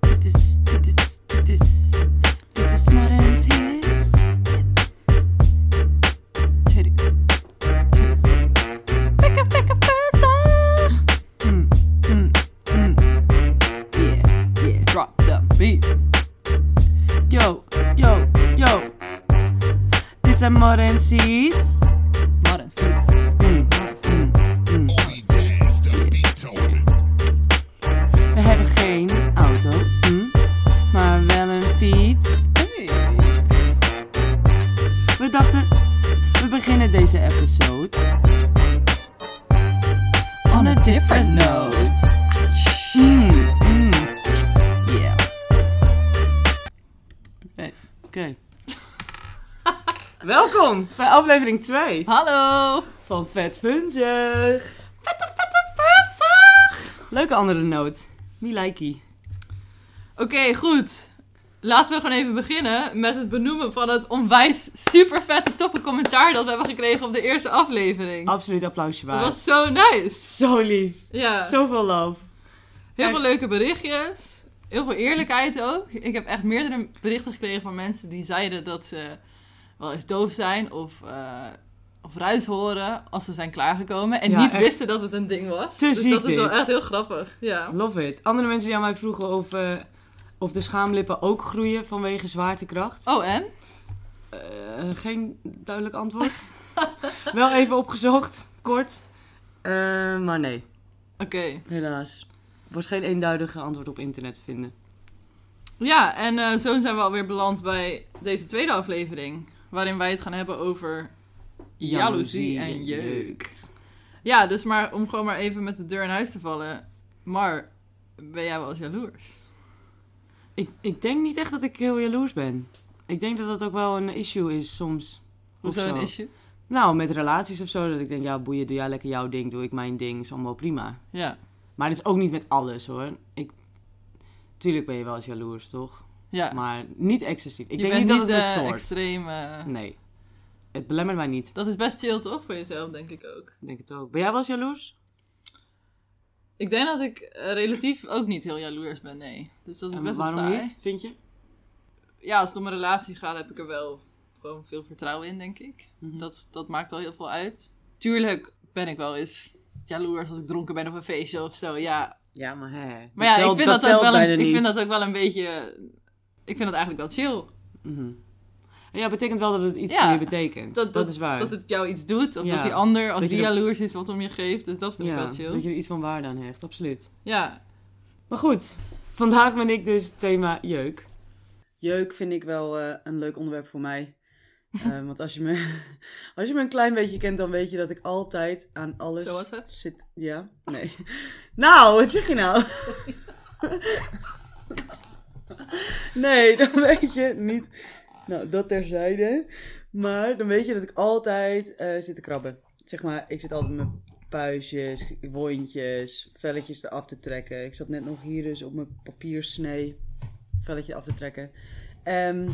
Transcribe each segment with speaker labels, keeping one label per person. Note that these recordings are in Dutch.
Speaker 1: Dit is, dit is, dit is, dit is modern tennis. Teddy. Teddy. Pikke, pikke, pizza. Mm, mm, mm. Yeah, yeah. Drop the beat. Yo, yo, yo. Dit zijn modern seeds. Modern seeds. Mm, mm, mm. We hebben geen auto, hm, maar wel een fiets. We dachten, we beginnen deze episode on a different note. Mm, mm. Yeah. Oké. Welkom bij aflevering 2
Speaker 2: Hallo!
Speaker 1: van Vet Funzig.
Speaker 2: Vette, vette, verse!
Speaker 1: Leuke andere noot. Milaikie.
Speaker 2: Oké, goed. Laten we gewoon even beginnen met het benoemen van het onwijs super vette toppe commentaar dat we hebben gekregen op de eerste aflevering.
Speaker 1: Absoluut applausje
Speaker 2: Dat
Speaker 1: waard.
Speaker 2: was zo nice.
Speaker 1: Zo lief.
Speaker 2: Ja,
Speaker 1: Zoveel love.
Speaker 2: heel
Speaker 1: echt.
Speaker 2: veel leuke berichtjes. Heel veel eerlijkheid ook. Ik heb echt meerdere berichten gekregen van mensen die zeiden dat ze wel eens doof zijn of, eh, of ruis horen als ze zijn klaargekomen. En
Speaker 1: Ja,
Speaker 2: niet
Speaker 1: echt.
Speaker 2: wisten dat het een ding was.
Speaker 1: Te
Speaker 2: dus
Speaker 1: ziek
Speaker 2: dat is wel
Speaker 1: dit.
Speaker 2: echt heel grappig. Ja.
Speaker 1: Love it. Andere mensen die aan mij vroegen of, eh, of de schaamlippen ook groeien vanwege zwaartekracht.
Speaker 2: Oh, en?
Speaker 1: Eh, geen duidelijk antwoord. Wel even opgezocht, kort. Eh, maar nee,
Speaker 2: Oké.
Speaker 1: helaas. Er was geen eenduidige antwoord op internet te vinden.
Speaker 2: Ja, en eh, zo zijn we alweer beland bij deze tweede aflevering. Waarin wij het gaan hebben over jaloezie en jeuk. Ja, dus maar om gewoon maar even met de deur in huis te vallen. Maar ben jij wel eens jaloers?
Speaker 1: Ik, ik denk niet echt dat ik heel jaloers ben. Ik denk dat dat ook wel een issue is soms. Of
Speaker 2: Hoezo
Speaker 1: zo.
Speaker 2: een issue?
Speaker 1: Nou, met relaties of zo. Dat ik denk, ja boeien, doe jij lekker jouw ding, doe ik mijn ding. Is allemaal prima.
Speaker 2: Ja.
Speaker 1: Maar dat is ook niet met alles hoor. Ik... Tuurlijk ben je wel eens jaloers, toch?
Speaker 2: ja.
Speaker 1: Maar niet excessief. Ik
Speaker 2: Je
Speaker 1: denk
Speaker 2: bent
Speaker 1: niet dat het me
Speaker 2: eh,
Speaker 1: stoort.
Speaker 2: extreem... eh,
Speaker 1: Nee. Het belemmert mij niet.
Speaker 2: Dat is best chill toch voor jezelf, denk ik ook.
Speaker 1: Ik denk het ook. Ben jij wel eens jaloers?
Speaker 2: Ik denk dat ik eh, relatief ook niet heel jaloers ben, nee. Dus dat is
Speaker 1: En
Speaker 2: best wel
Speaker 1: waarom
Speaker 2: saai.
Speaker 1: niet, vind je?
Speaker 2: ja, als het om een relatie gaat, heb ik er wel gewoon veel vertrouwen in, denk ik.
Speaker 1: Mhm.
Speaker 2: dat, dat maakt al heel veel uit. Tuurlijk ben ik wel eens jaloers als ik dronken ben op een feestje of zo, ja.
Speaker 1: Ja, maar hè.
Speaker 2: Maar ja, ik, vind dat, ook wel een, ik vind dat ook wel een beetje... Ik vind dat eigenlijk wel chill.
Speaker 1: En Mhm. ja, betekent wel dat het iets
Speaker 2: Ja,
Speaker 1: voor je betekent. Dat,
Speaker 2: dat-
Speaker 1: is waar.
Speaker 2: Dat het jou iets doet, of
Speaker 1: Ja.
Speaker 2: dat die ander, als
Speaker 1: Dat je
Speaker 2: die
Speaker 1: er-
Speaker 2: jaloers is, wat om je geeft. Dus dat vind ik
Speaker 1: ja,
Speaker 2: wel
Speaker 1: dat
Speaker 2: chill.
Speaker 1: je er iets van waarde aan hecht, absoluut.
Speaker 2: Ja,
Speaker 1: Maar goed, vandaag ben ik dus thema jeuk. Jeuk vind ik wel eh, een leuk onderwerp voor mij. Eh, want als je, me, als je me een klein beetje kent, dan weet je dat ik altijd aan alles
Speaker 2: Zoals het?
Speaker 1: zit. Ja, nee. Nou, wat zeg je nou? Nee, dat weet je niet. Nou, dat terzijde. Maar dan weet je dat ik altijd eh, zit te krabben. Zeg maar, ik zit altijd met mijn puistjes, wondjes, velletjes eraf te trekken. Ik zat net nog hier dus op mijn papiersnee velletje af te trekken. Ehm,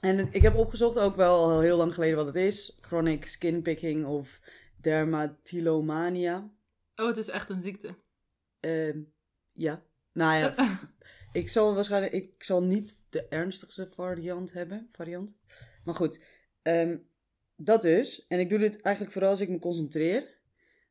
Speaker 1: en ik heb opgezocht ook wel al heel lang geleden wat het is. Chronic skin picking of dermatillomania.
Speaker 2: oh, het is echt een ziekte.
Speaker 1: Ehm, ja, nou ja, ik zal waarschijnlijk, ik zal niet de ernstigste variant hebben, variant. Maar goed, ehm, dat dus. En ik doe dit eigenlijk vooral als ik me concentreer.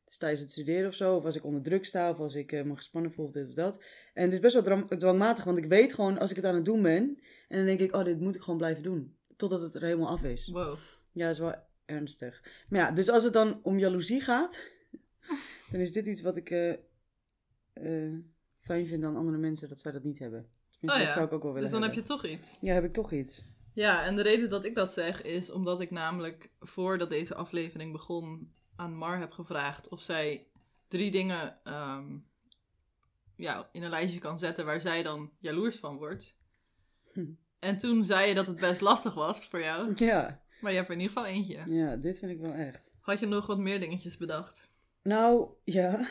Speaker 1: Dus tijdens het studeren of zo, of als ik onder druk sta, of als ik eh, me gespannen voel, of dit of dat. En het is best wel dram- dwangmatig, want ik weet gewoon als ik het aan het doen ben, en dan denk ik, oh, dit moet ik gewoon blijven doen. Totdat het er helemaal af is.
Speaker 2: Wow.
Speaker 1: Ja, dat is wel ernstig. Maar ja, dus als het dan om jaloezie gaat, dan is dit iets wat ik eh, eh, fijn vind aan andere mensen, dat zij dat niet hebben. Tenminste,
Speaker 2: Oh ja,
Speaker 1: dat zou ik ook wel willen
Speaker 2: Dus dan heb
Speaker 1: hebben.
Speaker 2: je toch iets.
Speaker 1: Ja, heb ik toch iets.
Speaker 2: Ja, en de reden dat ik dat zeg is omdat ik namelijk voordat deze aflevering begon aan Mar heb gevraagd of zij drie dingen ehm, ja, in een lijstje kan zetten waar zij dan jaloers van wordt.
Speaker 1: Hm.
Speaker 2: En toen zei je dat het best lastig was voor jou,
Speaker 1: Ja,
Speaker 2: maar je hebt er in ieder geval eentje.
Speaker 1: ja, dit vind ik wel echt.
Speaker 2: Had je nog wat meer dingetjes bedacht?
Speaker 1: Nou, ja.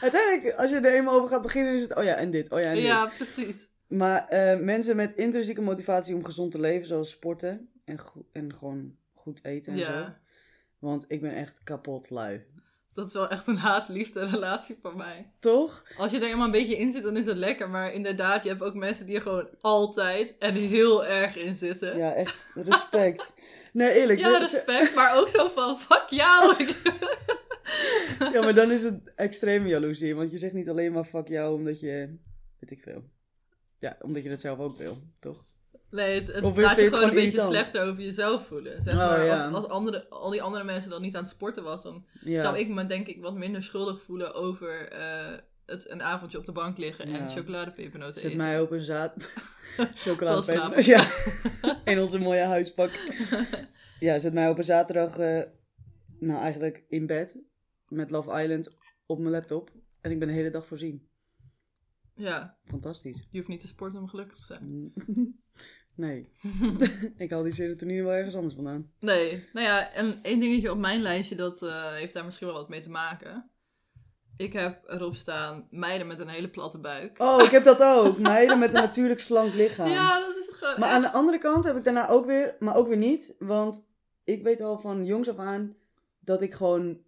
Speaker 1: Uiteindelijk, als je er eenmaal over gaat beginnen, is het, oh ja, en dit, oh ja, en dit.
Speaker 2: Ja, precies.
Speaker 1: Maar eh, mensen met intrinsieke motivatie om gezond te leven, zoals sporten en, go- en gewoon goed eten en
Speaker 2: Ja.
Speaker 1: zo. Want ik ben echt kapot lui.
Speaker 2: Dat is wel echt een haat-liefde relatie voor mij.
Speaker 1: Toch?
Speaker 2: Als je er helemaal een beetje in zit, dan is dat lekker. Maar inderdaad, je hebt ook mensen die er gewoon altijd en heel erg in zitten.
Speaker 1: Ja, echt respect. Nee, eerlijk.
Speaker 2: Ja,
Speaker 1: ze-
Speaker 2: respect, maar ook zo van, fuck jou. Ik-
Speaker 1: ze- ja, maar dan is het extreme jaloezie. Want je zegt niet alleen maar fuck jou omdat je, weet ik veel. Ja, omdat je dat zelf ook wil, toch?
Speaker 2: Nee, het, het
Speaker 1: Of vind
Speaker 2: laat
Speaker 1: je
Speaker 2: je
Speaker 1: het
Speaker 2: gewoon een
Speaker 1: gewoon
Speaker 2: beetje
Speaker 1: irritant?
Speaker 2: slechter over jezelf voelen. Zeg
Speaker 1: Oh,
Speaker 2: maar,
Speaker 1: ja.
Speaker 2: als, als andere, al die andere mensen dan niet aan het sporten was, dan
Speaker 1: Ja.
Speaker 2: zou ik me denk ik wat minder schuldig voelen over eh, het een avondje op de bank liggen en
Speaker 1: Ja.
Speaker 2: chocoladepepernoten
Speaker 1: Zet
Speaker 2: eten.
Speaker 1: mij op een zaad.
Speaker 2: Zoals
Speaker 1: Chocolade.
Speaker 2: vanavond.
Speaker 1: Ja. In onze mooie huispak. Ja, zet mij op een zaterdag. eh, nou, eigenlijk in bed. Met Love Island op mijn laptop. En ik ben de hele dag voorzien.
Speaker 2: Ja,
Speaker 1: Fantastisch.
Speaker 2: je hoeft niet te sporten om gelukkig te zijn.
Speaker 1: Nee. ik haal die serotonine wel ergens anders vandaan.
Speaker 2: Nee, nou ja, en één dingetje op mijn lijstje, dat eh, heeft daar misschien wel wat mee te maken. Ik heb erop staan, meiden met een hele platte buik.
Speaker 1: Oh, ik heb dat ook. Meiden met een natuurlijk slank lichaam.
Speaker 2: ja, dat is gewoon
Speaker 1: Maar
Speaker 2: echt-
Speaker 1: aan de andere kant heb ik daarna ook weer, maar ook weer niet. Want ik weet al van jongs af aan dat ik gewoon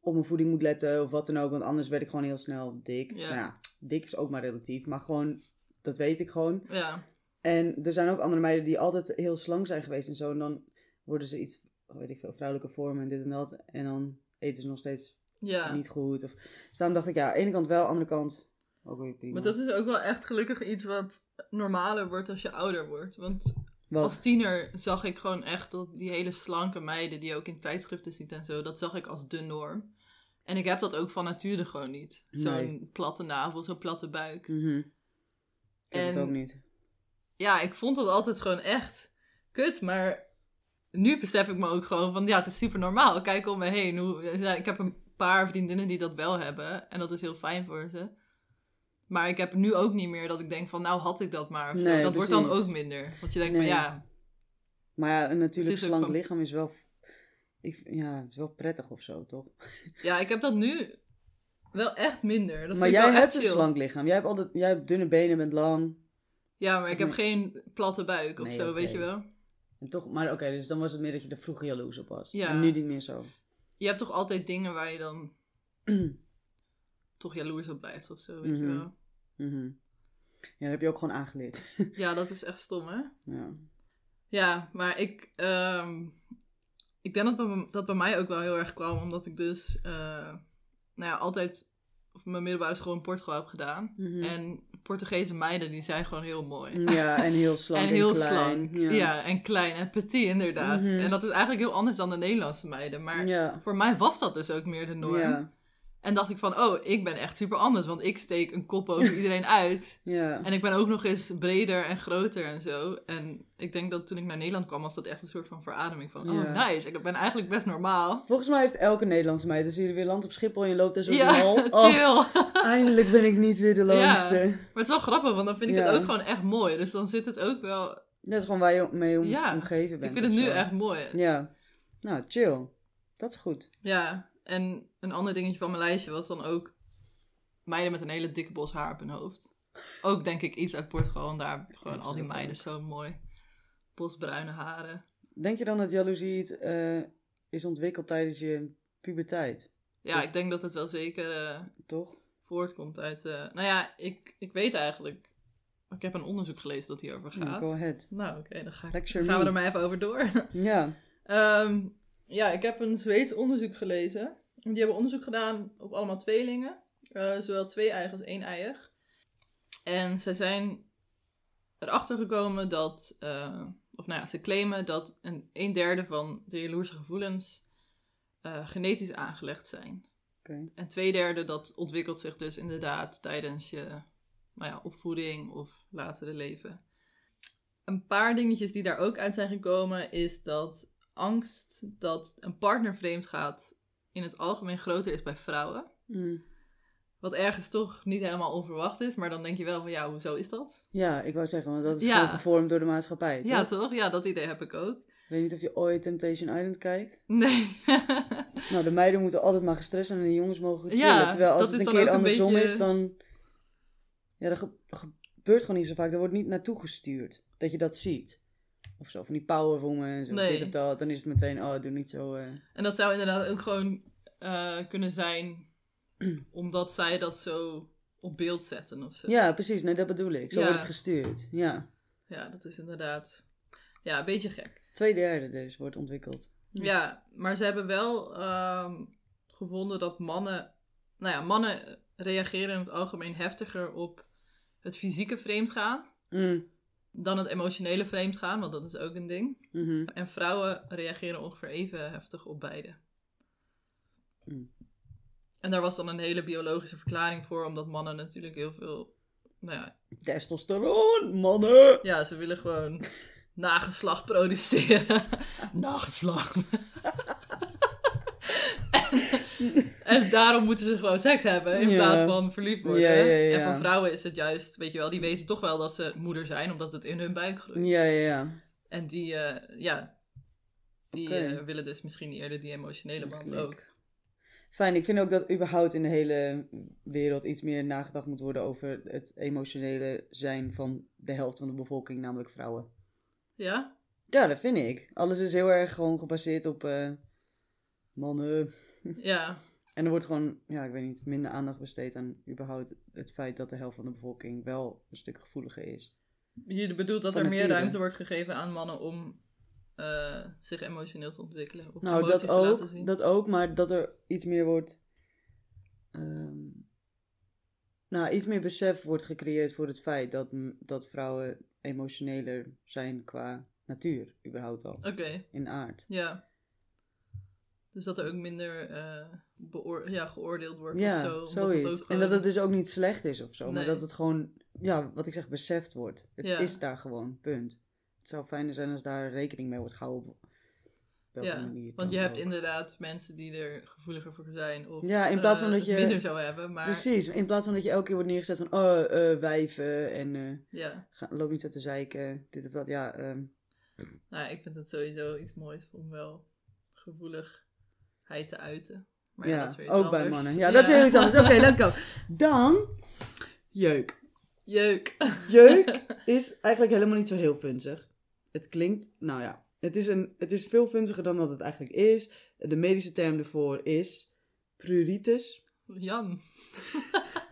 Speaker 1: op mijn voeding moet letten of wat dan ook. Want anders werd ik gewoon heel snel dik.
Speaker 2: Ja.
Speaker 1: Nou ja, dik is ook maar relatief. Maar gewoon, dat weet ik gewoon.
Speaker 2: Ja,
Speaker 1: En er zijn ook andere meiden die altijd heel slank zijn geweest en zo. En dan worden ze iets, weet ik veel, vrouwelijke vormen en dit en dat. En dan eten ze nog steeds
Speaker 2: ja.
Speaker 1: niet goed. Of... Dus daarom dacht ik, ja, aan de ene kant wel, aan de andere kant ook weer prima.
Speaker 2: Maar dat is ook wel echt gelukkig iets wat normaler wordt als je ouder wordt. Want
Speaker 1: Wat?
Speaker 2: als tiener zag ik gewoon echt dat die hele slanke meiden die je ook in tijdschriften ziet en zo, dat zag ik als de norm. En ik heb dat ook van nature gewoon niet. Zo'n
Speaker 1: Nee.
Speaker 2: platte navel, zo'n platte buik.
Speaker 1: Mhm. Ik heb het
Speaker 2: En-
Speaker 1: ook niet.
Speaker 2: ja, ik vond dat altijd gewoon echt kut. Maar nu besef ik me ook gewoon van, ja, het is super normaal. Kijk om me heen. Hoe, ja, ik heb een paar vriendinnen die dat wel hebben. En dat is heel fijn voor ze. Maar ik heb nu ook niet meer dat ik denk van, nou had ik dat maar. Of zo.
Speaker 1: Nee,
Speaker 2: dat wordt dan
Speaker 1: precies.
Speaker 2: ook minder. Want je denkt
Speaker 1: Nee.
Speaker 2: van, ja,
Speaker 1: Maar ja, een natuurlijk
Speaker 2: Het is ook
Speaker 1: slank
Speaker 2: gewoon-
Speaker 1: lichaam is wel, ik, ja, het is wel prettig of zo, toch?
Speaker 2: ja, ik heb dat nu wel echt minder.
Speaker 1: maar
Speaker 2: Dat vind ik
Speaker 1: jij
Speaker 2: wel
Speaker 1: hebt
Speaker 2: echt
Speaker 1: een
Speaker 2: chill.
Speaker 1: slank lichaam. Jij hebt, altijd, jij hebt dunne benen, bent lang.
Speaker 2: Ja, maar ik heb
Speaker 1: maar-
Speaker 2: geen platte buik of
Speaker 1: Nee,
Speaker 2: zo,
Speaker 1: oké.
Speaker 2: weet je wel.
Speaker 1: En toch, maar oké, dus dan was het meer dat je er vroeger jaloers op was.
Speaker 2: Ja.
Speaker 1: En nu niet meer zo.
Speaker 2: Je hebt toch altijd dingen waar je dan toch jaloers op blijft of zo, weet je
Speaker 1: Mhm.
Speaker 2: wel.
Speaker 1: Mhm. Ja, dat heb je ook gewoon aangeleerd.
Speaker 2: Ja, dat is echt stom, hè?
Speaker 1: ja.
Speaker 2: Ja, maar ik, ehm, ik denk dat bij, dat bij mij ook wel heel erg kwam, omdat ik dus eh, nou ja, altijd of mijn middelbare school in Portugal heb gedaan.
Speaker 1: Mhm.
Speaker 2: En Portugese meiden, die zijn gewoon heel mooi.
Speaker 1: ja, Mm. en heel slank.
Speaker 2: en heel
Speaker 1: klein.
Speaker 2: slank. Ja. en klein en petit inderdaad.
Speaker 1: Mhm.
Speaker 2: En dat is eigenlijk heel anders dan de Nederlandse meiden. Maar
Speaker 1: Ja.
Speaker 2: voor mij was dat dus ook meer de norm.
Speaker 1: Ja.
Speaker 2: En dacht ik van, oh, ik ben echt super anders, want ik steek een kop over iedereen uit.
Speaker 1: Ja.
Speaker 2: En ik ben ook nog eens breder en groter en zo. En ik denk dat toen ik naar Nederland kwam, was dat echt een soort van verademing van... Oh,
Speaker 1: Ja.
Speaker 2: nice. Ik ben eigenlijk best normaal.
Speaker 1: Volgens mij heeft elke Nederlandse meid, dan zie je weer land op Schiphol en je loopt dus op
Speaker 2: Ja,
Speaker 1: de hal. Oh,
Speaker 2: chill.
Speaker 1: eindelijk ben ik niet weer de langste.
Speaker 2: Maar het is wel grappig, want dan vind ik
Speaker 1: Ja.
Speaker 2: het ook gewoon echt mooi. Dus dan zit het ook wel...
Speaker 1: Dat is gewoon waar je mee om,
Speaker 2: Ja.
Speaker 1: omgeven bent.
Speaker 2: ik vind het
Speaker 1: of
Speaker 2: nu
Speaker 1: zo.
Speaker 2: echt mooi. Ja.
Speaker 1: Ja. Nou, chill. Dat is goed.
Speaker 2: En een ander dingetje van mijn lijstje was dan ook... Meiden met een hele dikke bos haar op hun hoofd. Ook denk ik iets uit Portugal, want daar hebben gewoon al die
Speaker 1: Absoluut.
Speaker 2: meiden zo mooi. Bosbruine haren.
Speaker 1: Denk je dan dat jaloezie iets eh, is ontwikkeld tijdens je puberteit?
Speaker 2: Ja, ik denk dat het wel zeker... eh,
Speaker 1: Toch?
Speaker 2: voortkomt uit. eh, nou ja, ik, ik weet eigenlijk. Ik heb een onderzoek gelezen dat hierover
Speaker 1: Ja,
Speaker 2: gaat.
Speaker 1: go ahead.
Speaker 2: nou, oké, dan ga ik-
Speaker 1: Lecture
Speaker 2: gaan we
Speaker 1: me.
Speaker 2: er maar even over door.
Speaker 1: Ja.
Speaker 2: Ehm, ja, ik heb een Zweeds onderzoek gelezen. Die hebben onderzoek gedaan op allemaal tweelingen. eh, zowel twee-eiig als één-eiig. En zij zijn erachter gekomen dat... eh, of nou ja, ze claimen dat een, een derde van de jaloerse gevoelens eh, genetisch aangelegd zijn.
Speaker 1: Oké.
Speaker 2: En twee derde, dat ontwikkelt zich dus inderdaad tijdens je nou ja, opvoeding of latere leven een paar dingetjes die daar ook uit zijn gekomen is dat angst dat een partner vreemd gaat in het algemeen groter is bij vrouwen.
Speaker 1: Mm.
Speaker 2: Wat ergens toch niet helemaal onverwacht is, maar dan denk je wel van ja, hoezo is dat?
Speaker 1: Ja, ik wou zeggen, want dat is
Speaker 2: Ja.
Speaker 1: gewoon gevormd door de maatschappij.
Speaker 2: Ja,
Speaker 1: toch?
Speaker 2: toch? Ja, dat idee heb ik ook.
Speaker 1: Ik weet niet of je ooit Temptation Island kijkt.
Speaker 2: Nee.
Speaker 1: Nou, de meiden moeten altijd maar gestrest zijn en de jongens mogen chillen.
Speaker 2: Ja,
Speaker 1: Terwijl als
Speaker 2: dat
Speaker 1: het
Speaker 2: is
Speaker 1: een
Speaker 2: dan
Speaker 1: keer
Speaker 2: ook een
Speaker 1: andersom
Speaker 2: beetje-
Speaker 1: is, dan... Ja, dan ge- ge- gebeurt gewoon niet zo vaak. Er wordt niet naartoe gestuurd. Dat je dat ziet. Of zo, van die powerwoman en zo,
Speaker 2: Nee.
Speaker 1: dit of dat. Dan is het meteen, oh, doe niet zo... eh.
Speaker 2: En dat zou inderdaad ook gewoon eh, kunnen zijn omdat zij dat zo op beeld zetten of zo.
Speaker 1: Ja, precies. Nee, dat bedoel ik. Zo
Speaker 2: Ja.
Speaker 1: wordt het gestuurd. Ja.
Speaker 2: Ja, dat is inderdaad. Ja, een beetje gek.
Speaker 1: Twee derde dus wordt ontwikkeld. Hm.
Speaker 2: Ja, maar ze hebben wel ehm, gevonden dat mannen. Nou ja, mannen reageren in het algemeen heftiger op het fysieke vreemdgaan
Speaker 1: Mm.
Speaker 2: dan het emotionele vreemdgaan, want dat is ook een ding.
Speaker 1: Mhm.
Speaker 2: En vrouwen reageren ongeveer even heftig op beide.
Speaker 1: Mm.
Speaker 2: En daar was dan een hele biologische verklaring voor, omdat mannen natuurlijk heel veel. Nou ja,
Speaker 1: Testosteron, mannen!
Speaker 2: Ja, ze willen gewoon nageslacht produceren. nageslacht. en, en daarom moeten ze gewoon seks hebben in
Speaker 1: Ja.
Speaker 2: plaats van verliefd worden.
Speaker 1: Ja, ja, ja.
Speaker 2: En voor vrouwen is het juist, weet je wel, die weten toch wel dat ze moeder zijn, omdat het in hun buik groeit.
Speaker 1: Ja, ja, ja.
Speaker 2: En die, eh, ja, die
Speaker 1: Oké.
Speaker 2: eh, willen dus misschien eerder die emotionele band
Speaker 1: Klik.
Speaker 2: ook.
Speaker 1: Fijn, ik vind ook dat überhaupt in de hele wereld iets meer nagedacht moet worden over het emotionele zijn van de helft van de bevolking, namelijk vrouwen.
Speaker 2: Ja?
Speaker 1: Ja, dat vind ik. Alles is heel erg gewoon gebaseerd op eh, mannen.
Speaker 2: Ja.
Speaker 1: En er wordt gewoon, ja, ik weet niet, minder aandacht besteed aan überhaupt het feit dat de helft van de bevolking wel een stuk gevoeliger is.
Speaker 2: Je bedoelt dat
Speaker 1: Van
Speaker 2: er meer
Speaker 1: nature.
Speaker 2: ruimte wordt gegeven aan mannen om eh, zich emotioneel te ontwikkelen. Of
Speaker 1: Nou,
Speaker 2: emoties
Speaker 1: dat
Speaker 2: te laten zien.
Speaker 1: ook, dat ook, maar dat er iets meer wordt. ehm, nou, iets meer besef wordt gecreëerd voor het feit dat, m- dat vrouwen emotioneler zijn qua natuur, überhaupt al,
Speaker 2: Oké,
Speaker 1: in aard.
Speaker 2: ja. Dus dat er ook minder eh, beoor- ja, geoordeeld wordt of zo.
Speaker 1: Ja,
Speaker 2: omdat
Speaker 1: zoiets.
Speaker 2: het ook
Speaker 1: En
Speaker 2: gewoon-
Speaker 1: dat het dus ook niet slecht is of zo, maar
Speaker 2: Nee.
Speaker 1: dat het gewoon, ja, wat ik zeg, beseft wordt. Het
Speaker 2: Ja.
Speaker 1: is daar gewoon, punt. Het zou fijner zijn als daar rekening mee wordt gehouden. op welke
Speaker 2: ja,
Speaker 1: manier
Speaker 2: want je
Speaker 1: dan
Speaker 2: hebt
Speaker 1: ook.
Speaker 2: inderdaad mensen die er gevoeliger voor zijn. Of,
Speaker 1: Ja, in plaats van
Speaker 2: eh,
Speaker 1: dat je-
Speaker 2: het minder zou hebben, maar
Speaker 1: Precies, in plaats van dat je elke keer wordt neergezet van, oh, eh, wijven en... eh,
Speaker 2: ja.
Speaker 1: Ga- loop niet zo te zeiken, dit of dat. Ja, ehm,
Speaker 2: Nou, ik vind het sowieso iets moois om wel gevoeligheid te uiten. Maar ja,
Speaker 1: ja,
Speaker 2: dat is weer iets
Speaker 1: ook bij
Speaker 2: anders.
Speaker 1: mannen. Ja, dat is heel iets anders. Oké, let's go. Dan, jeuk.
Speaker 2: Jeuk.
Speaker 1: Jeuk is eigenlijk helemaal niet zo heel funzig. Het klinkt, nou ja, het is, een, het is veel funziger dan dat het eigenlijk is. De medische term ervoor is pruritus.
Speaker 2: Jan.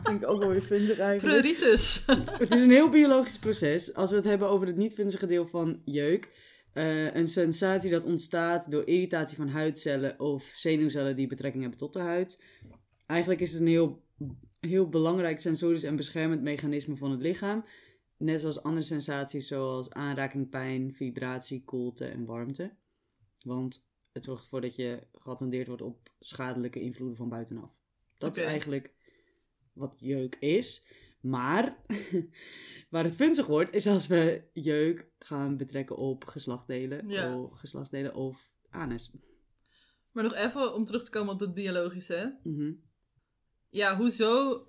Speaker 1: Klinkt ook wel weer funzig eigenlijk.
Speaker 2: Pleuritis.
Speaker 1: Het is een heel biologisch proces. Als we het hebben over het niet-vunzige deel van jeuk. eh, een sensatie dat ontstaat door irritatie van huidcellen of zenuwcellen die betrekking hebben tot de huid. Eigenlijk is het een heel, heel belangrijk sensorisch en beschermend mechanisme van het lichaam. Net zoals andere sensaties zoals aanraking, pijn, vibratie, koelte en warmte. Want het zorgt ervoor dat je geattendeerd wordt op schadelijke invloeden van buitenaf. Dat is
Speaker 2: Oké.
Speaker 1: eigenlijk wat jeuk is. Maar waar het funzig wordt, is als we jeuk gaan betrekken op geslachtdelen,
Speaker 2: Ja.
Speaker 1: of, geslachtsdelen of anus.
Speaker 2: maar nog even om terug te komen op het biologische. hè.
Speaker 1: Mhm.
Speaker 2: ja, hoezo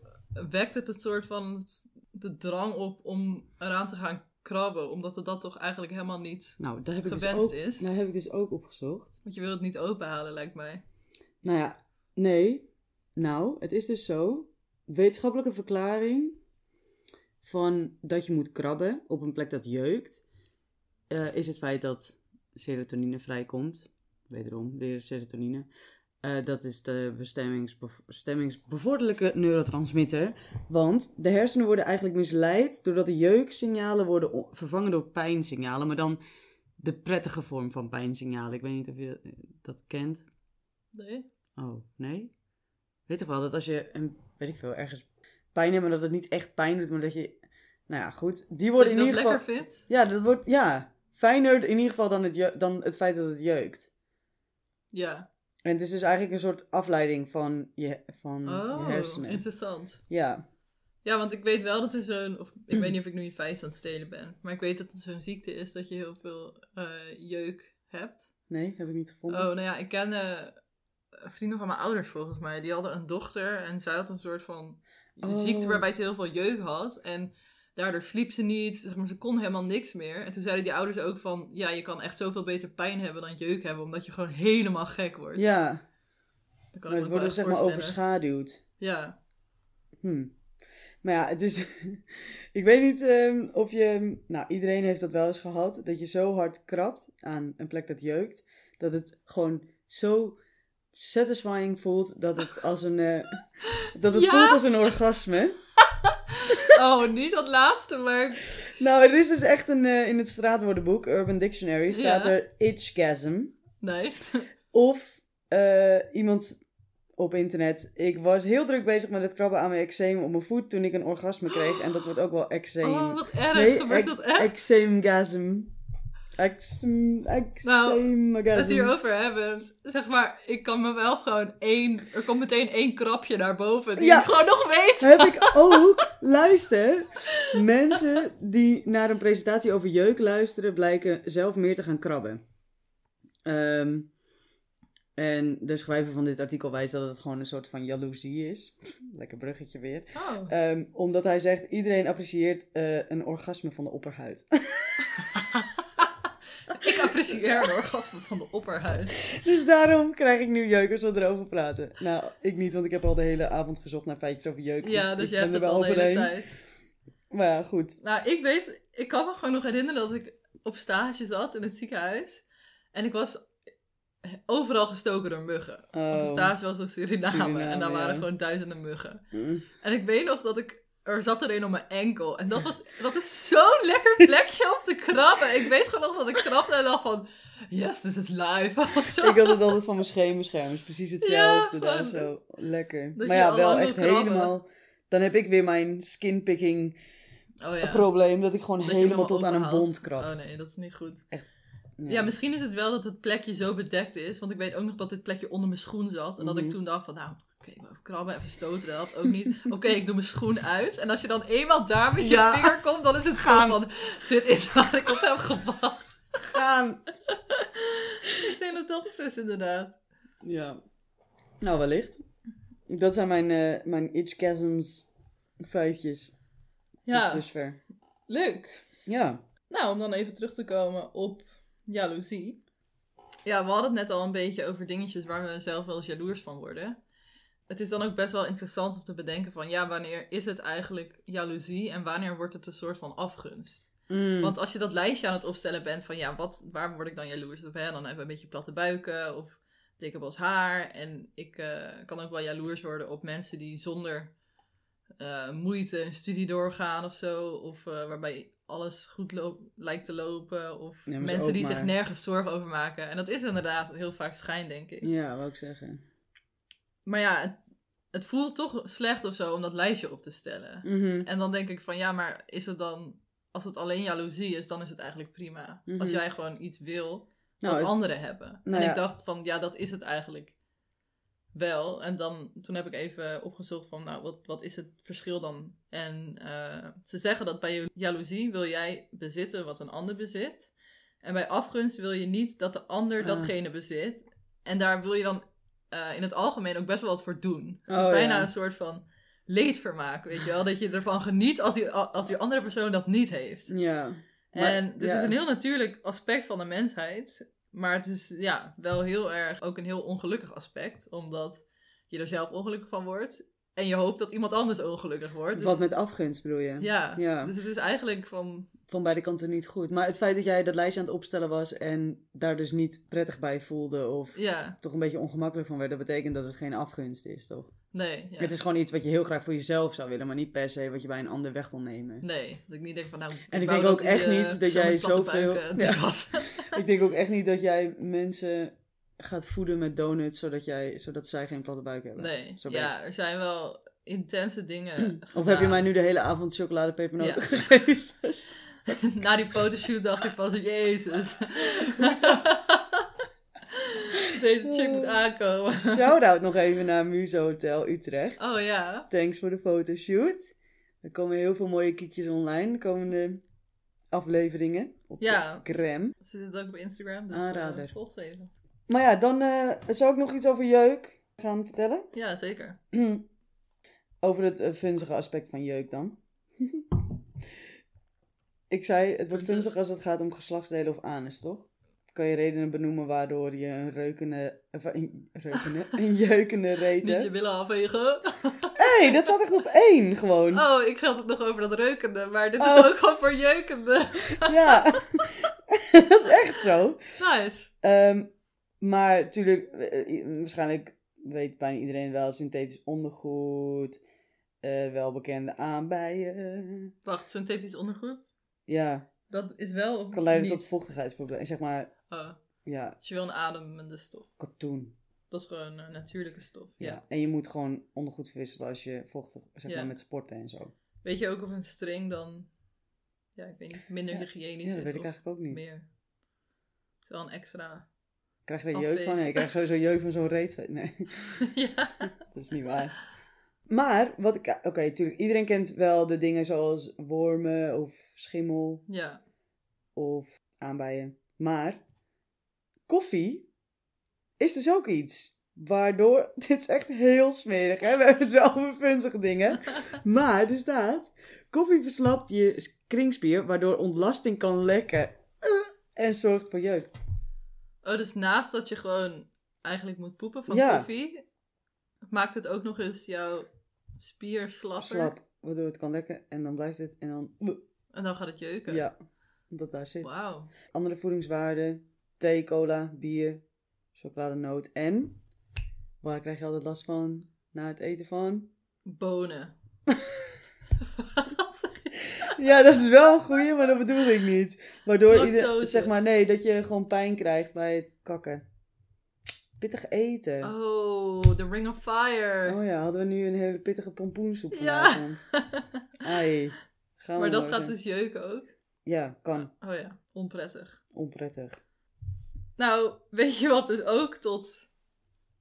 Speaker 2: wekt het een soort van de drang op om eraan te gaan krabben? Omdat het dat toch eigenlijk helemaal niet...
Speaker 1: Nou, daar heb, ik dus
Speaker 2: Gewenst
Speaker 1: ook,
Speaker 2: is.
Speaker 1: daar heb ik dus ook opgezocht.
Speaker 2: Want je wil het niet openhalen, lijkt mij.
Speaker 1: Nou ja, nee. Nou, het is dus zo. Wetenschappelijke verklaring van dat je moet krabben op een plek dat jeukt, eh, is het feit dat serotonine vrijkomt. Wederom, weer serotonine. Eh, dat is de bestemmingsbev- bestemmingsbevorderlijke neurotransmitter. Want de hersenen worden eigenlijk misleid doordat de jeuksignalen worden o- vervangen door pijnsignalen. Maar dan de prettige vorm van pijnsignalen. Ik weet niet of je dat, eh, dat kent.
Speaker 2: Nee?
Speaker 1: Oh, nee? Weet toch wel dat als je, een, weet ik veel, ergens pijn hebt, maar dat het niet echt pijn doet, maar dat je, nou ja, goed. Die
Speaker 2: Dat
Speaker 1: worden
Speaker 2: je
Speaker 1: in
Speaker 2: dat
Speaker 1: ieder geval,
Speaker 2: lekker vindt?
Speaker 1: ja, dat wordt, ja, fijner in ieder geval dan het, jeu- dan het feit dat het jeukt.
Speaker 2: Ja.
Speaker 1: En het is dus eigenlijk een soort afleiding van je, van
Speaker 2: Oh,
Speaker 1: je Mm, hersenen.
Speaker 2: interessant.
Speaker 1: Ja.
Speaker 2: Ja, want ik weet wel dat er zo'n... Of ik weet niet of ik nu je feest aan het stelen ben. Maar ik weet dat het zo'n ziekte is dat je heel veel eh, jeuk hebt.
Speaker 1: Nee, heb ik niet
Speaker 2: Oh,
Speaker 1: gevonden.
Speaker 2: nou ja, ik ken eh, vrienden van mijn ouders volgens mij. Die hadden een dochter en zij had een soort van
Speaker 1: Oh.
Speaker 2: ziekte waarbij ze heel veel jeuk had. En daardoor sliep ze niet, zeg maar, ze kon helemaal niks meer. En toen zeiden die ouders ook van, ja, je kan echt zoveel beter pijn hebben dan jeuk hebben, omdat je gewoon helemaal gek wordt.
Speaker 1: Ja, maar
Speaker 2: Dat kan ik
Speaker 1: het
Speaker 2: me
Speaker 1: wordt
Speaker 2: wel
Speaker 1: dus zeg
Speaker 2: echt
Speaker 1: maar
Speaker 2: voorstellen.
Speaker 1: overschaduwd.
Speaker 2: Ja,
Speaker 1: Hm. Maar ja, het is, Ik weet niet ehm, of je... Nou, iedereen heeft dat wel eens gehad. Dat je zo hard krabt aan een plek dat jeukt. Dat het gewoon zo satisfying voelt. Dat het als een... eh, dat het
Speaker 2: Ja?
Speaker 1: voelt als een orgasme.
Speaker 2: Oh, niet dat laatste, maar...
Speaker 1: Nou, er is dus echt een... eh, in het straatwoordenboek, Urban Dictionary, staat
Speaker 2: Ja.
Speaker 1: er itchgasm.
Speaker 2: Nice.
Speaker 1: Of eh, iemand op internet. Ik was heel druk bezig met het krabben aan mijn eczeem op mijn voet toen ik een orgasme kreeg. En dat wordt ook wel eczeem.
Speaker 2: Oh, wat erg.
Speaker 1: Nee,
Speaker 2: Gebeurt
Speaker 1: ec-
Speaker 2: dat echt? Nou,
Speaker 1: Eczeemgasm. Eczeem-
Speaker 2: het
Speaker 1: Eczeemgasm.
Speaker 2: hierover hebben. Zeg maar, ik kan me wel gewoon één... Er komt meteen één krapje naar boven die
Speaker 1: Ja.
Speaker 2: ik gewoon nog weet.
Speaker 1: Heb ik ook, luister, mensen die naar een presentatie over jeuk luisteren, blijken zelf meer te gaan krabben. Ehm, en de schrijver van dit artikel wijst dat het gewoon een soort van jaloezie is. Lekker bruggetje weer.
Speaker 2: Oh.
Speaker 1: Ehm, omdat hij zegt, iedereen apprecieert eh, een orgasme van de opperhuid.
Speaker 2: Ik apprecieer een orgasme van de opperhuid.
Speaker 1: dus daarom krijg ik nu jeuk als we erover praten. Nou, ik niet, want ik heb al de hele avond gezocht naar feitjes over jeuk.
Speaker 2: Ja, dus
Speaker 1: ik
Speaker 2: jij hebt
Speaker 1: ben
Speaker 2: het
Speaker 1: er wel
Speaker 2: al de hele
Speaker 1: overheen.
Speaker 2: tijd.
Speaker 1: Maar ja, goed.
Speaker 2: Nou, ik weet, ik kan me gewoon nog herinneren dat ik op stage zat in het ziekenhuis. En ik was overal gestoken door muggen. Want de
Speaker 1: Oh.
Speaker 2: stage was in Suriname,
Speaker 1: Suriname,
Speaker 2: en daar waren
Speaker 1: ja.
Speaker 2: gewoon duizenden muggen.
Speaker 1: Mm.
Speaker 2: En ik weet nog dat ik, er zat er een op mijn enkel. En dat, was, dat is zo'n lekker plekje om te krabben. Ik weet gewoon nog dat ik krabde en dacht van, yes, this is live. Of zo.
Speaker 1: Ik had het altijd van mijn schemerscherm. Is precies hetzelfde.
Speaker 2: Ja,
Speaker 1: daar
Speaker 2: gewoon
Speaker 1: zo lekker.
Speaker 2: dat
Speaker 1: Maar
Speaker 2: je
Speaker 1: ja,
Speaker 2: al
Speaker 1: wel
Speaker 2: lang wil
Speaker 1: echt
Speaker 2: krabben.
Speaker 1: helemaal... Dan heb ik weer mijn skinpicking
Speaker 2: oh ja.
Speaker 1: probleem. Dat ik gewoon
Speaker 2: Dat je hem
Speaker 1: helemaal tot aan een
Speaker 2: openhaalt.
Speaker 1: wond krab.
Speaker 2: Oh nee, dat is niet goed.
Speaker 1: Ja.
Speaker 2: Ja, misschien is het wel dat het plekje zo bedekt is. Want ik weet ook nog dat dit plekje onder mijn schoen zat. En dat ik
Speaker 1: Mhm.
Speaker 2: toen dacht van, nou, oké, ik moet even krabben, even stoten, dat helpt ook niet. Oké, ik doe mijn schoen uit. En als je dan eenmaal daar met je
Speaker 1: Ja.
Speaker 2: vinger komt, dan is het gewoon
Speaker 1: Gaan.
Speaker 2: van, dit is waar ik op heb gewacht.
Speaker 1: Gaan.
Speaker 2: Ik denk dat dat het is inderdaad.
Speaker 1: Ja. Nou, wellicht. Dat zijn mijn, eh mijn itchgasms feitjes.
Speaker 2: Ja,
Speaker 1: Tot dusver.
Speaker 2: leuk.
Speaker 1: Ja.
Speaker 2: Nou, om dan even terug te komen op jaloezie. Ja, we hadden het net al een beetje over dingetjes waar we zelf wel eens jaloers van worden. Het is dan ook best wel interessant om te bedenken van ja, wanneer is het eigenlijk jaloezie en wanneer wordt het een soort van afgunst?
Speaker 1: Hm. Mm.
Speaker 2: Want als je dat lijstje aan het opstellen bent van ja, wat, waar word ik dan jaloers op? Hè? Dan hebben we een beetje platte buiken of dikke bos haar. En ik eh, kan ook wel jaloers worden op mensen die zonder eh, moeite een studie doorgaan of zo. Of eh, waarbij alles goed loopt- lijkt te lopen. Of
Speaker 1: Ja, maar ze
Speaker 2: mensen
Speaker 1: ook
Speaker 2: die zich
Speaker 1: maar-
Speaker 2: nergens zorgen over maken. En dat is inderdaad heel vaak schijn, denk ik.
Speaker 1: Ja, wou ik zeggen.
Speaker 2: Maar ja, het, het voelt toch slecht of zo om dat lijstje op te stellen.
Speaker 1: Mhm.
Speaker 2: En dan denk ik van ja, maar is het dan, als het alleen jaloezie is, dan is het eigenlijk prima.
Speaker 1: Mhm.
Speaker 2: Als jij gewoon iets wil
Speaker 1: Nou,
Speaker 2: wat
Speaker 1: het-
Speaker 2: anderen hebben.
Speaker 1: Nou
Speaker 2: en
Speaker 1: ja.
Speaker 2: ik dacht van ja, dat is het eigenlijk wel. En dan, toen heb ik even opgezocht van nou, wat, wat is het verschil dan? En eh, ze zeggen dat bij jaloezie wil jij bezitten wat een ander bezit. En bij afgunst wil je niet dat de ander
Speaker 1: Ah.
Speaker 2: datgene bezit. En daar wil je dan eh, in het algemeen ook best wel wat voor doen. Het is
Speaker 1: Oh,
Speaker 2: bijna
Speaker 1: ja.
Speaker 2: een soort van leedvermaak, weet je wel? Dat je ervan geniet als die, als die andere persoon dat niet heeft.
Speaker 1: Ja.
Speaker 2: en
Speaker 1: Maar-
Speaker 2: dit
Speaker 1: ja.
Speaker 2: is een heel natuurlijk aspect van de mensheid. Maar het is ja, wel heel erg ook een heel ongelukkig aspect. Omdat je er zelf ongelukkig van wordt. En je hoopt dat iemand anders ongelukkig wordt. Dus,
Speaker 1: Wat met afgunst bedoel je?
Speaker 2: ja,
Speaker 1: Ja.
Speaker 2: dus het is eigenlijk van...
Speaker 1: Van beide kanten niet goed. Maar het feit dat jij dat lijstje aan het opstellen was en daar dus niet prettig bij voelde of
Speaker 2: Ja,
Speaker 1: toch een beetje ongemakkelijk van werd, dat betekent dat het geen afgunst is, toch?
Speaker 2: nee. Ja.
Speaker 1: Het is gewoon iets wat je heel graag voor jezelf zou willen, maar niet per se wat je bij een ander weg wil nemen.
Speaker 2: Nee, dat ik niet denk van nou...
Speaker 1: En ik denk
Speaker 2: wou dat
Speaker 1: ook
Speaker 2: die,
Speaker 1: echt
Speaker 2: eh,
Speaker 1: niet dat
Speaker 2: persoon met
Speaker 1: jij
Speaker 2: platte
Speaker 1: zoveel-
Speaker 2: buiken
Speaker 1: Ja.
Speaker 2: dik was.
Speaker 1: Ik denk ook echt niet dat jij mensen gaat voeden met donuts zodat, jij, zodat zij geen platte buik hebben.
Speaker 2: Nee,
Speaker 1: Zo ben ik. Hmm.
Speaker 2: ja, er zijn wel intense dingen
Speaker 1: Of heb je
Speaker 2: gedaan.
Speaker 1: mij nu de hele avond chocoladepepernoten
Speaker 2: nou. Ja.
Speaker 1: gegeven?
Speaker 2: Na die fotoshoot dacht ik van, jezus. Deze chick moet aankomen.
Speaker 1: Shout-out nog even naar Muso Hotel Utrecht.
Speaker 2: Oh ja.
Speaker 1: Thanks voor de fotoshoot. Er komen heel veel mooie kiekjes online de komende afleveringen op de
Speaker 2: Ja.
Speaker 1: crème.
Speaker 2: Ze zit ook op Instagram, dus
Speaker 1: Aanrader.
Speaker 2: eh, volg ze even.
Speaker 1: Maar ja, dan eh, zou ik nog iets over jeuk gaan vertellen.
Speaker 2: Ja, zeker.
Speaker 1: Over het eh, vunzige aspect van jeuk dan. ik zei, het wordt
Speaker 2: Vunzig.
Speaker 1: vunzig als het gaat om geslachtsdelen of anus, toch? kan je redenen benoemen waardoor je een reukende, of een, reukende, een jeukende reet
Speaker 2: Niet je
Speaker 1: hebt.
Speaker 2: willen afvegen.
Speaker 1: Hé, hey, dat staat echt op één gewoon.
Speaker 2: Oh, ik had het nog over dat reukende, maar dit
Speaker 1: Oh.
Speaker 2: is ook gewoon voor jeukende.
Speaker 1: Ja, dat is echt zo.
Speaker 2: Nice.
Speaker 1: Ehm, maar natuurlijk, eh, eh, waarschijnlijk weet bijna iedereen wel synthetisch ondergoed, eh, welbekende aanbijen.
Speaker 2: Wacht, synthetisch ondergoed?
Speaker 1: Ja,
Speaker 2: Dat is wel of
Speaker 1: kan leiden
Speaker 2: niet?
Speaker 1: tot vochtigheidsproblemen. Zeg maar,
Speaker 2: Oh,
Speaker 1: ja,
Speaker 2: het is wel een ademende stof.
Speaker 1: katoen.
Speaker 2: Dat is gewoon een natuurlijke stof. Ja.
Speaker 1: En je moet gewoon ondergoed verwisselen als je vochtig, zeg
Speaker 2: Ja.
Speaker 1: maar met sporten en zo.
Speaker 2: Weet je ook of een string dan, ja, ik weet niet, minder
Speaker 1: Ja.
Speaker 2: hygiënisch
Speaker 1: Ja, dat
Speaker 2: is
Speaker 1: weet ik
Speaker 2: of
Speaker 1: eigenlijk ook niet.
Speaker 2: meer? Het is wel een extra...
Speaker 1: Krijg je er
Speaker 2: Afwegen.
Speaker 1: jeuk van? Nee, ik krijg sowieso jeuk van zo'n reet. Nee,
Speaker 2: ja.
Speaker 1: dat is niet waar. Maar, wat ik... Oké, natuurlijk, iedereen kent wel de dingen zoals wormen of schimmel
Speaker 2: ja.
Speaker 1: of aanbijen. Maar, koffie is dus ook iets waardoor... Dit is echt heel smerig, hè? We hebben het wel over funzige dingen. Maar, er staat... Koffie verslapt je kringspier, waardoor ontlasting kan lekken. Eh, En zorgt voor jeuk.
Speaker 2: Oh, dus naast dat je gewoon eigenlijk moet poepen van
Speaker 1: Ja.
Speaker 2: koffie, maakt het ook nog eens jouw spier slapper.
Speaker 1: Slap, waardoor het kan lekken. En dan blijft het en dan...
Speaker 2: En dan gaat het jeuken.
Speaker 1: Ja, dat daar zit.
Speaker 2: Wauw.
Speaker 1: Andere voedingswaarden, thee, cola, bier, chocoladenoot en... Waar krijg je altijd last van na het eten van?
Speaker 2: Bonen. Wat zeg je?
Speaker 1: Ja, dat is wel een goeie, maar dat bedoel ik niet. Waardoor ieder,
Speaker 2: Lactose.
Speaker 1: zeg maar, nee, dat je gewoon pijn krijgt bij het kakken. Pittig eten. Oh,
Speaker 2: oh, The Ring of Fire.
Speaker 1: ja, hadden we nu een hele pittige pompoensoep
Speaker 2: Ja.
Speaker 1: vanavond. Ai, gaan we
Speaker 2: maar dat
Speaker 1: maar
Speaker 2: gaat
Speaker 1: weer.
Speaker 2: dus jeuken ook.
Speaker 1: Ja, kan.
Speaker 2: Oh ja, onprettig.
Speaker 1: Onprettig.
Speaker 2: Nou, weet je wat dus ook tot...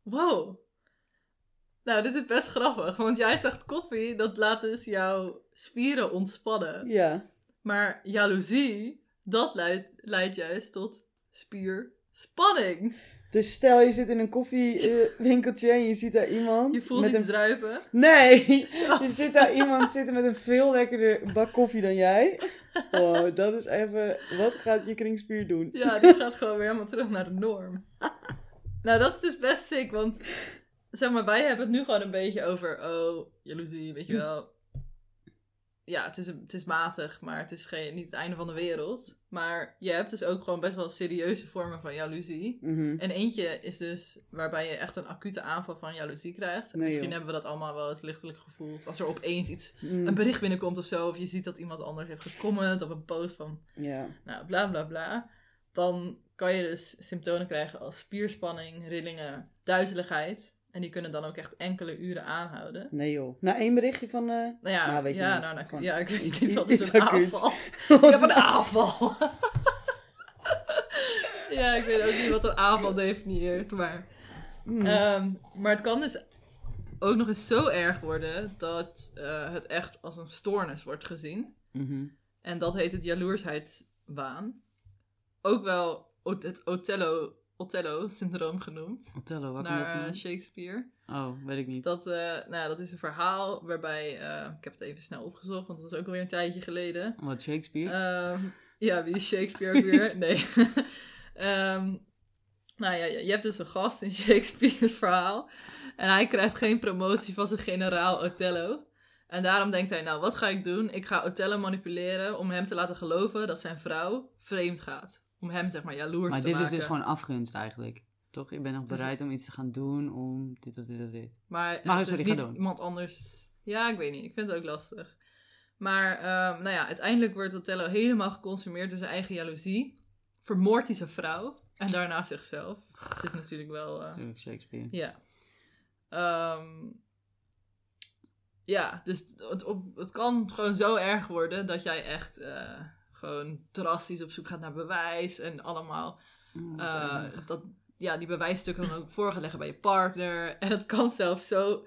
Speaker 2: Wow. Nou, dit is best grappig. Want jij zegt koffie, dat laat dus jouw spieren ontspannen.
Speaker 1: Ja,
Speaker 2: Maar jaloezie, dat leidt, leidt juist tot spierspanning.
Speaker 1: dus stel je zit in een koffiewinkeltje en je ziet daar iemand
Speaker 2: Je voelt
Speaker 1: met
Speaker 2: iets
Speaker 1: een
Speaker 2: druipen.
Speaker 1: Nee, je zit daar iemand zitten met een veel lekkerder bak koffie dan jij. Wow, dat is even... Wat gaat je kringspier doen?
Speaker 2: Ja, die gaat gewoon weer helemaal terug naar de norm. Nou, dat is dus best sick, want zeg maar, wij hebben het nu gewoon een beetje over, oh, jaloezie, weet je wel. Ja, het is, het is matig, maar het is geen, niet het einde van de wereld. Maar je hebt dus ook gewoon best wel serieuze vormen van jaloezie.
Speaker 1: Mhm.
Speaker 2: En eentje is dus waarbij je echt een acute aanval van jaloezie krijgt. En
Speaker 1: Nee,
Speaker 2: Misschien
Speaker 1: joh.
Speaker 2: hebben we dat allemaal wel eens lichtelijk gevoeld. Als er opeens iets,
Speaker 1: Mm,
Speaker 2: een bericht binnenkomt of zo. Of je ziet dat iemand anders heeft gecomment op een post van
Speaker 1: ja.
Speaker 2: nou, bla bla bla. Dan kan je dus symptomen krijgen als spierspanning, rillingen, duizeligheid. En die kunnen dan ook echt enkele uren aanhouden.
Speaker 1: Nee joh. Na één berichtje van... eh,
Speaker 2: Nou ja,
Speaker 1: Nou, weet je
Speaker 2: ja,
Speaker 1: niet.
Speaker 2: nou, nou,
Speaker 1: Gewoon
Speaker 2: ja, ik weet
Speaker 1: iets-
Speaker 2: niet wat
Speaker 1: iets
Speaker 2: is een
Speaker 1: acuuts.
Speaker 2: aanval. Ik
Speaker 1: wat
Speaker 2: heb een aanval. ja, ik weet ook niet wat een aanval definieert, maar...
Speaker 1: Mm.
Speaker 2: Ehm, maar het kan dus ook nog eens zo erg worden dat eh, het echt als een stoornis wordt gezien.
Speaker 1: Mhm.
Speaker 2: En dat heet het jaloersheidswaan. Ook wel Ot- het Othello- Othello-syndroom genoemd.
Speaker 1: Othello, waar komt
Speaker 2: Naar
Speaker 1: dat
Speaker 2: eh,
Speaker 1: vandaan?
Speaker 2: Shakespeare.
Speaker 1: Oh, weet ik niet.
Speaker 2: Dat, eh, nou, ja, dat is een verhaal waarbij... eh, ik heb het even snel opgezocht, want dat is ook alweer een tijdje geleden.
Speaker 1: Wat, Shakespeare?
Speaker 2: Ehm, ja, wie is Shakespeare ook weer? Nee. Ehm, nou ja, je je hebt dus een gast in Shakespeare's verhaal. En hij krijgt geen promotie van zijn generaal Othello. En daarom denkt hij, nou wat ga ik doen? Ik ga Othello manipuleren om hem te laten geloven dat zijn vrouw vreemd gaat. Om hem zeg maar jaloers
Speaker 3: Maar
Speaker 2: te
Speaker 3: dit
Speaker 2: maken.
Speaker 3: is dus gewoon afgunst eigenlijk. Toch? Ik ben nog
Speaker 2: Het is-
Speaker 3: bereid om iets te gaan doen om dit, dat, dit, dat, dit.
Speaker 2: Maar,
Speaker 3: Maar
Speaker 2: het
Speaker 3: sorry,
Speaker 2: is
Speaker 3: ga
Speaker 2: niet
Speaker 3: door.
Speaker 2: iemand anders. Ja, ik weet niet. Ik vind het ook lastig. Maar ehm, nou ja, uiteindelijk wordt Othello helemaal geconsumeerd door zijn eigen jaloezie. Vermoordt hij zijn vrouw en daarna zichzelf. Het is natuurlijk wel. eh,
Speaker 3: Natuurlijk Shakespeare.
Speaker 2: ja. Ehm, ja, dus het, het op, het kan gewoon zo erg worden dat jij echt eh, gewoon drastisch op zoek gaat naar bewijs en allemaal
Speaker 3: Oh, wat
Speaker 2: eh,
Speaker 3: erg.
Speaker 2: dat, ja, die bewijsstukken dan ook voor gaan leggen bij je partner. En het kan zelfs zo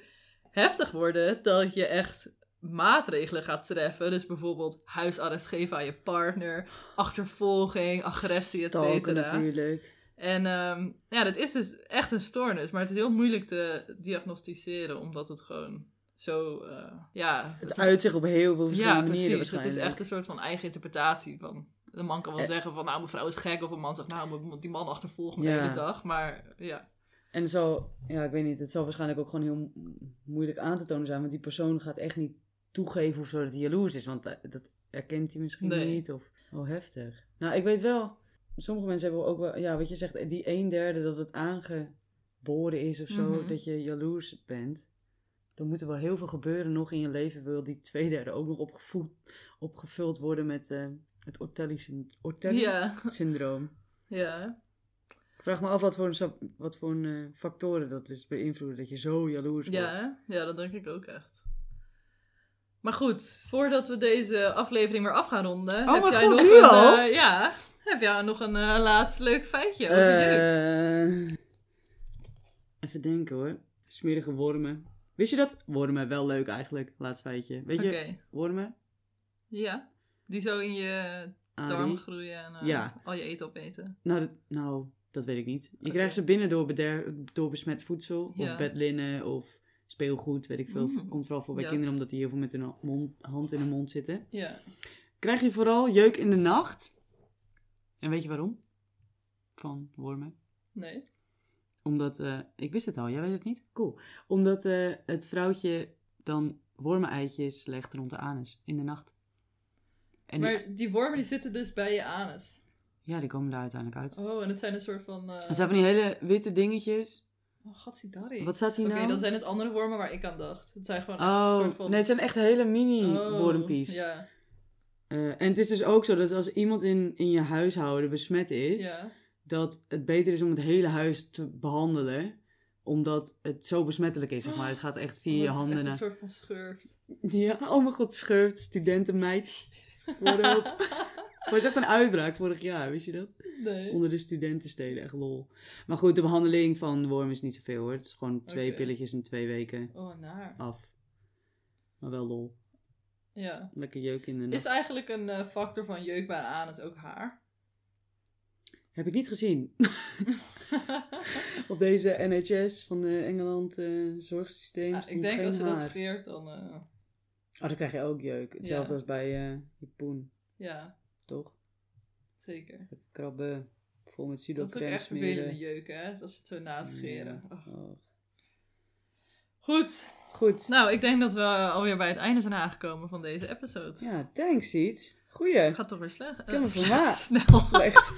Speaker 2: heftig worden dat je echt maatregelen gaat treffen. Dus bijvoorbeeld huisarrest geven aan je partner, achtervolging, agressie, et
Speaker 1: Stalken
Speaker 2: cetera.
Speaker 1: natuurlijk.
Speaker 2: En ehm, ja, dat is dus echt een stoornis. Maar het is heel moeilijk te diagnosticeren, omdat het gewoon zo, eh, ja...
Speaker 1: Het
Speaker 2: is-
Speaker 1: uitzicht op heel veel verschillende
Speaker 2: ja,
Speaker 1: manieren
Speaker 2: precies. Het is
Speaker 1: waarschijnlijk.
Speaker 2: echt een soort van eigen interpretatie van Een man kan wel
Speaker 1: Eh.
Speaker 2: zeggen van, nou, mijn vrouw is gek. Of een man zegt, nou, moet- moet die man achtervolgt me
Speaker 1: Ja.
Speaker 2: de hele dag. Maar ja.
Speaker 1: En zo, ja, ik weet niet, het zal waarschijnlijk ook gewoon heel mo- moeilijk aan te tonen zijn. Want die persoon gaat echt niet toegeven of zo dat hij jaloers is. Want eh, dat herkent hij misschien
Speaker 2: Nee.
Speaker 1: niet. Of, oh, heftig. Nou, ik weet wel, sommige mensen hebben ook wel, ja, wat je zegt, die een derde dat het aangeboren is of zo,
Speaker 2: Mhm.
Speaker 1: dat je jaloers bent. Dan moet er wel heel veel gebeuren nog in je leven. Wil die twee derde ook nog opgevoed, opgevuld worden met eh, het Ortelli-syndroom.
Speaker 2: Ja, ja.
Speaker 1: Ik vraag me af wat voor, een, sap- wat voor een, eh, factoren dat dus beïnvloeden. Dat je zo jaloers wordt.
Speaker 2: Ja, hè? ja, dat denk ik ook echt. Maar goed, voordat we deze aflevering weer af gaan ronden,
Speaker 1: Oh
Speaker 2: heb
Speaker 1: mijn
Speaker 2: jij
Speaker 1: god,
Speaker 2: nog
Speaker 1: nu
Speaker 2: een,
Speaker 1: al?
Speaker 2: eh, ja, heb jij nog een eh, laatste leuk feitje over jeuk?
Speaker 1: Eh, even denken hoor. Smerige wormen. Wist je dat? Wormen, wel leuk eigenlijk. Laatst feitje. Weet
Speaker 2: Oké,
Speaker 1: je, wormen?
Speaker 2: ja. Die zo in je
Speaker 1: Arie?
Speaker 2: darm groeien en eh,
Speaker 1: Ja.
Speaker 2: al je eten opeten.
Speaker 1: Nou, dat, nou, dat weet ik niet. Je
Speaker 2: Oké.
Speaker 1: krijgt ze binnen door, beder- door besmet voedsel.
Speaker 2: Ja.
Speaker 1: Of bedlinnen of speelgoed, weet ik veel.
Speaker 2: Mm.
Speaker 1: Komt vooral voor bij
Speaker 2: Ja.
Speaker 1: kinderen, omdat die heel veel met hun mond- hand in hun mond zitten.
Speaker 2: Ja.
Speaker 1: Krijg je vooral jeuk in de nacht?
Speaker 3: En weet je waarom? Van wormen.
Speaker 2: Nee.
Speaker 3: Omdat, eh, ik wist het al, jij weet het niet? Cool.
Speaker 1: Omdat eh,
Speaker 3: Het vrouwtje dan wormeneitjes legt rond de anus in de nacht. En die-
Speaker 2: Maar die wormen die zitten dus bij je anus.
Speaker 3: ja, die komen daar uiteindelijk uit.
Speaker 2: Oh, en het zijn een soort van... eh
Speaker 3: Het zijn van die hele witte dingetjes.
Speaker 2: Oh, gadsidari.
Speaker 3: Wat staat hier
Speaker 2: Oké,
Speaker 3: nou?
Speaker 2: dan zijn het andere wormen waar ik aan dacht. Het zijn gewoon echt een
Speaker 3: Oh,
Speaker 2: soort van...
Speaker 1: Nee, het zijn echt hele mini
Speaker 2: Oh,
Speaker 1: wormpies.
Speaker 2: Ja,
Speaker 1: Eh, en het is dus ook zo dat als iemand in, in je huishouden besmet is,
Speaker 2: ja.
Speaker 1: dat het beter is om het hele huis te behandelen omdat het zo besmettelijk is, zeg maar. Het gaat echt via
Speaker 2: Oh,
Speaker 1: je
Speaker 2: het is
Speaker 1: handen.
Speaker 2: echt een
Speaker 1: naar-
Speaker 2: soort van schurft.
Speaker 1: Ja, oh mijn god, schurft, studentenmeid. Word op. Het was echt een uitbraak vorig jaar, wist je dat?
Speaker 2: nee.
Speaker 1: Onder de studentensteden, echt lol. Maar goed, de behandeling van worm is niet zoveel hoor. Het is gewoon twee
Speaker 2: Oké.
Speaker 1: pilletjes in twee weken
Speaker 2: Oh, naar.
Speaker 1: af. Maar wel lol.
Speaker 2: Ja.
Speaker 1: Lekker jeuk in de nacht.
Speaker 2: Is eigenlijk een eh, factor van jeukbare anus ook haar?
Speaker 1: Heb ik niet gezien. Op deze NHS van de Engeland eh, zorgsysteem
Speaker 2: Ah,
Speaker 1: stond
Speaker 2: ik denk
Speaker 1: geen
Speaker 2: als je dat
Speaker 1: haar.
Speaker 2: scheert, dan... eh,
Speaker 1: Oh, dan krijg je ook jeuk. Hetzelfde
Speaker 2: Ja.
Speaker 1: als bij eh je poen,
Speaker 2: ja,
Speaker 1: toch?
Speaker 2: zeker.
Speaker 1: De krabben vol met
Speaker 2: Dat is ook
Speaker 1: sudocrème
Speaker 2: echt vervelende
Speaker 1: smeren. Mm,
Speaker 2: jeuk, hè? dus Als je het zo na het scheren. Oh.
Speaker 1: Oh.
Speaker 2: Goed.
Speaker 1: Goed.
Speaker 2: Nou, ik denk dat we alweer bij het einde zijn aangekomen van deze episode.
Speaker 1: Ja, thanks, Siet. Goeie.
Speaker 2: Het gaat toch weer slecht?
Speaker 1: heb
Speaker 2: eh,
Speaker 1: me
Speaker 2: slecht,
Speaker 1: vermaakt.
Speaker 2: snel.
Speaker 1: Slecht.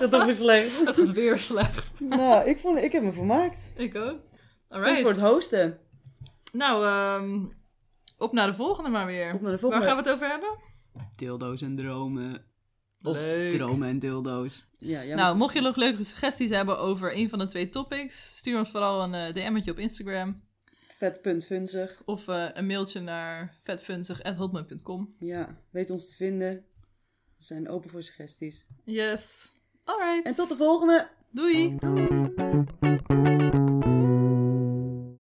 Speaker 1: Dat toch weer slecht.
Speaker 2: Het gaat weer slecht.
Speaker 1: nou, ik, vond, ik heb me vermaakt.
Speaker 2: Ik ook.
Speaker 1: Thanks voor het
Speaker 2: Alright.
Speaker 1: hosten.
Speaker 2: Nou, ehm, op naar de volgende maar weer.
Speaker 1: Op naar de
Speaker 2: Waar
Speaker 1: volgende.
Speaker 2: Nou, gaan we het over hebben?
Speaker 3: Dildo's en dromen. Of
Speaker 2: Leuk.
Speaker 3: dromen en dildo's.
Speaker 1: Ja, ja,
Speaker 2: Nou, mocht je nog leuke suggesties hebben over een van de twee topics, stuur ons vooral een eh, DM'tje op Instagram
Speaker 1: Vet punt vunzig.
Speaker 2: of eh, een mailtje naar vetfunzig.hotmail.com.
Speaker 1: Ja, weet ons te vinden. We zijn open voor suggesties.
Speaker 2: Yes. Alright.
Speaker 1: En tot de volgende!
Speaker 2: Doei.
Speaker 3: Doei.